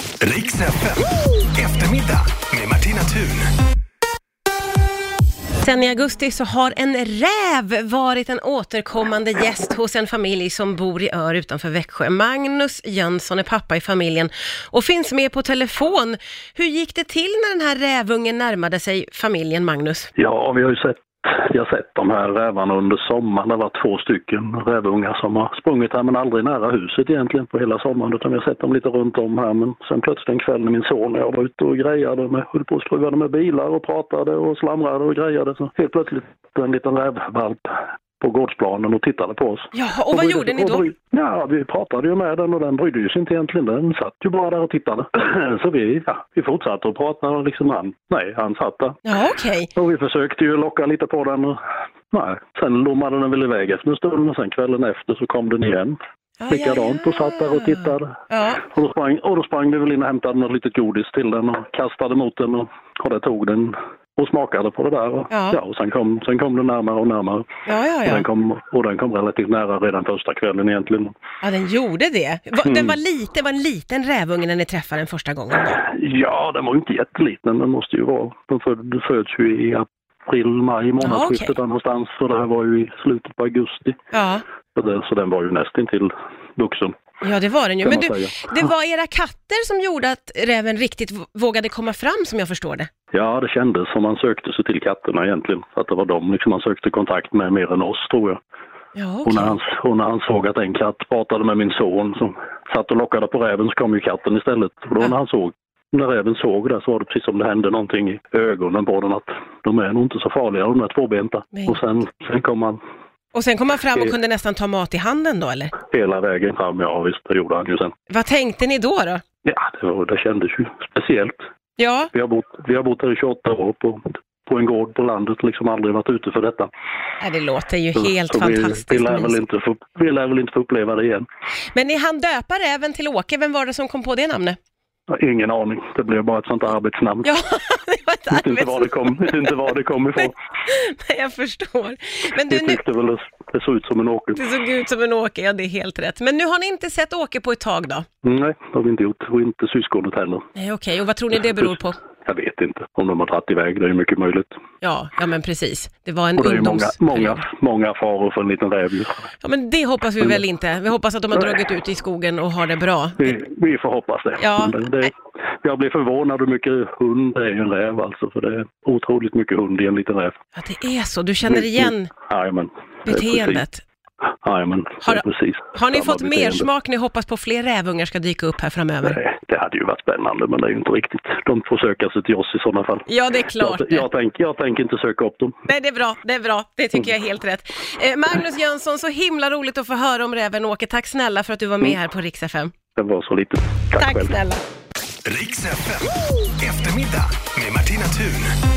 Riks FM. Eftermiddag med Martina Thun. Sen i augusti så har en räv varit en återkommande gäst hos en familj som bor i Ör utanför Växjö. Magnus Jönsson är pappa i familjen och finns med på telefon. Hur gick det till när den här rävungen närmade sig familjen, Magnus? Ja, vi har ju sett, vi har sett de här rävarna under sommaren. Det var två stycken rävungar som har sprungit här men aldrig nära huset egentligen på hela sommaren utan vi har sett dem lite runt om här. Men sen plötsligt en kväll när min son och jag var ute och grejade med, höll på och skruvade med bilar och pratade och slamrade och grejade så helt plötsligt en liten rävvalp på gårdsplanen och tittade på oss. Ja, och vad brydde- gjorde ni och då? bry- Ja, vi pratade ju med den och den brydde sig inte egentligen. Den satt ju bara där och tittade. Så vi, ja, vi fortsatte att prata och liksom han, nej, han satt där. Ja, okej. Och vi försökte ju locka lite på den och nej, sen lommade den väl iväg efter en stund och sen kvällen efter så kom den igen. Ja, Likadant och satt där och tittade. Ja, Och då sprang, och då sprang vi väl in och hämtade något litet godis till den och kastade mot den och, och det tog den och smakade på det där. Och, Ja. ja. och sen, kom, sen kom den närmare och närmare. ja, ja. Och, ja. den kom, och den kom relativt nära redan första kvällen egentligen. ja den gjorde det. Va- Den Mm. var liten, var en liten rävunge när ni träffade den första gången. Då. Ja, den var ju inte jätteliten, den måste ju vara. Den föd, föds ju i april, maj månadsskiftet Ja, okej. där någonstans. Så det här var ju i slutet på augusti. Ja. Så, det, så den var ju nästintill vuxen. Ja, det var den ju. Kan Men du, man säga. det var era katter som gjorde att räven riktigt v- vågade komma fram, som jag förstår det. Ja, det kändes som man sökte sig till katterna egentligen. Att det var dem liksom man sökte kontakt med mer än oss, tror jag. Ja, Och okej. när, han, och när han såg att en katt pratade med min son som satt och lockade på räven så kom ju katten istället. Och då när han såg när räven såg det så var det precis som det hände någonting i ögonen på den att de är nog inte så farliga de är tvåbenta. Men- Och sen, sen kom han Och sen kom han fram och Eh. kunde nästan ta mat i handen då, eller? hela vägen fram, ja visst det gjorde han ju sen. Vad tänkte ni då? då? Ja, det, var, det kändes ju speciellt. Ja, Vi har bott, vi har bott här i 28 år på, på en gård på landet, liksom aldrig varit ute för detta. Nej, det låter ju Så- helt så fantastiskt. Vi, vi, lär väl mysigt. inte få, vi lär väl inte få uppleva det igen. Men ni hann döpa räven till Åke, vem var det som kom på det namnet? Jag har Ingen aning, det blev bara ett sånt där arbetsnamn. Ja, det var ett Jag vet inte var det kom, jag vet inte var det kom ifrån. Nej, jag förstår. Men Vi du, nu, tyckte väl att det såg ut som en åker. det såg ut som en Åke, ja det är helt rätt. Men nu har ni inte sett Åke på ett tag då? Nej, det har vi inte gjort. Och inte syskonet heller. Nej, okej. Och vad tror ni det beror på? Jag vet inte om de har dragit iväg, det är mycket möjligt. Ja, ja men precis. Det var en Och det är ju många, ungdomsperiod. många, många faror för en liten räv. ju. Ja, men det hoppas vi väl inte. Vi hoppas att de har Nej. dragit ut i skogen och har det bra. Vi, vi får hoppas det. Ja. Men det. Jag blir förvånad hur mycket hund det är i en räv alltså, för det är otroligt mycket hund i en liten räv. Ja, det är så. Du känner igen Jajamän. Det är precis- beteendet. Jajamän, det Har- är precis. Har ni samma fått beteende. mer smak? Ni hoppas på fler rävungar ska dyka upp här framöver? Nej, Det hade ju varit spännande, men det är ju inte riktigt. De får söka sig till oss i sådana fall. Ja, det är klart. Jag, jag, tänker, jag tänker inte söka upp dem. Nej, det är bra. Det är bra. Det tycker jag är helt rätt. Eh, Magnus Jönsson, så himla roligt att få höra om räven Åke. Tack snälla för att du var med här på Rix FM. Det var så lite. Mm. Tack, Tack själv. snälla. Riks FM. Eftermiddag med Martina Thun.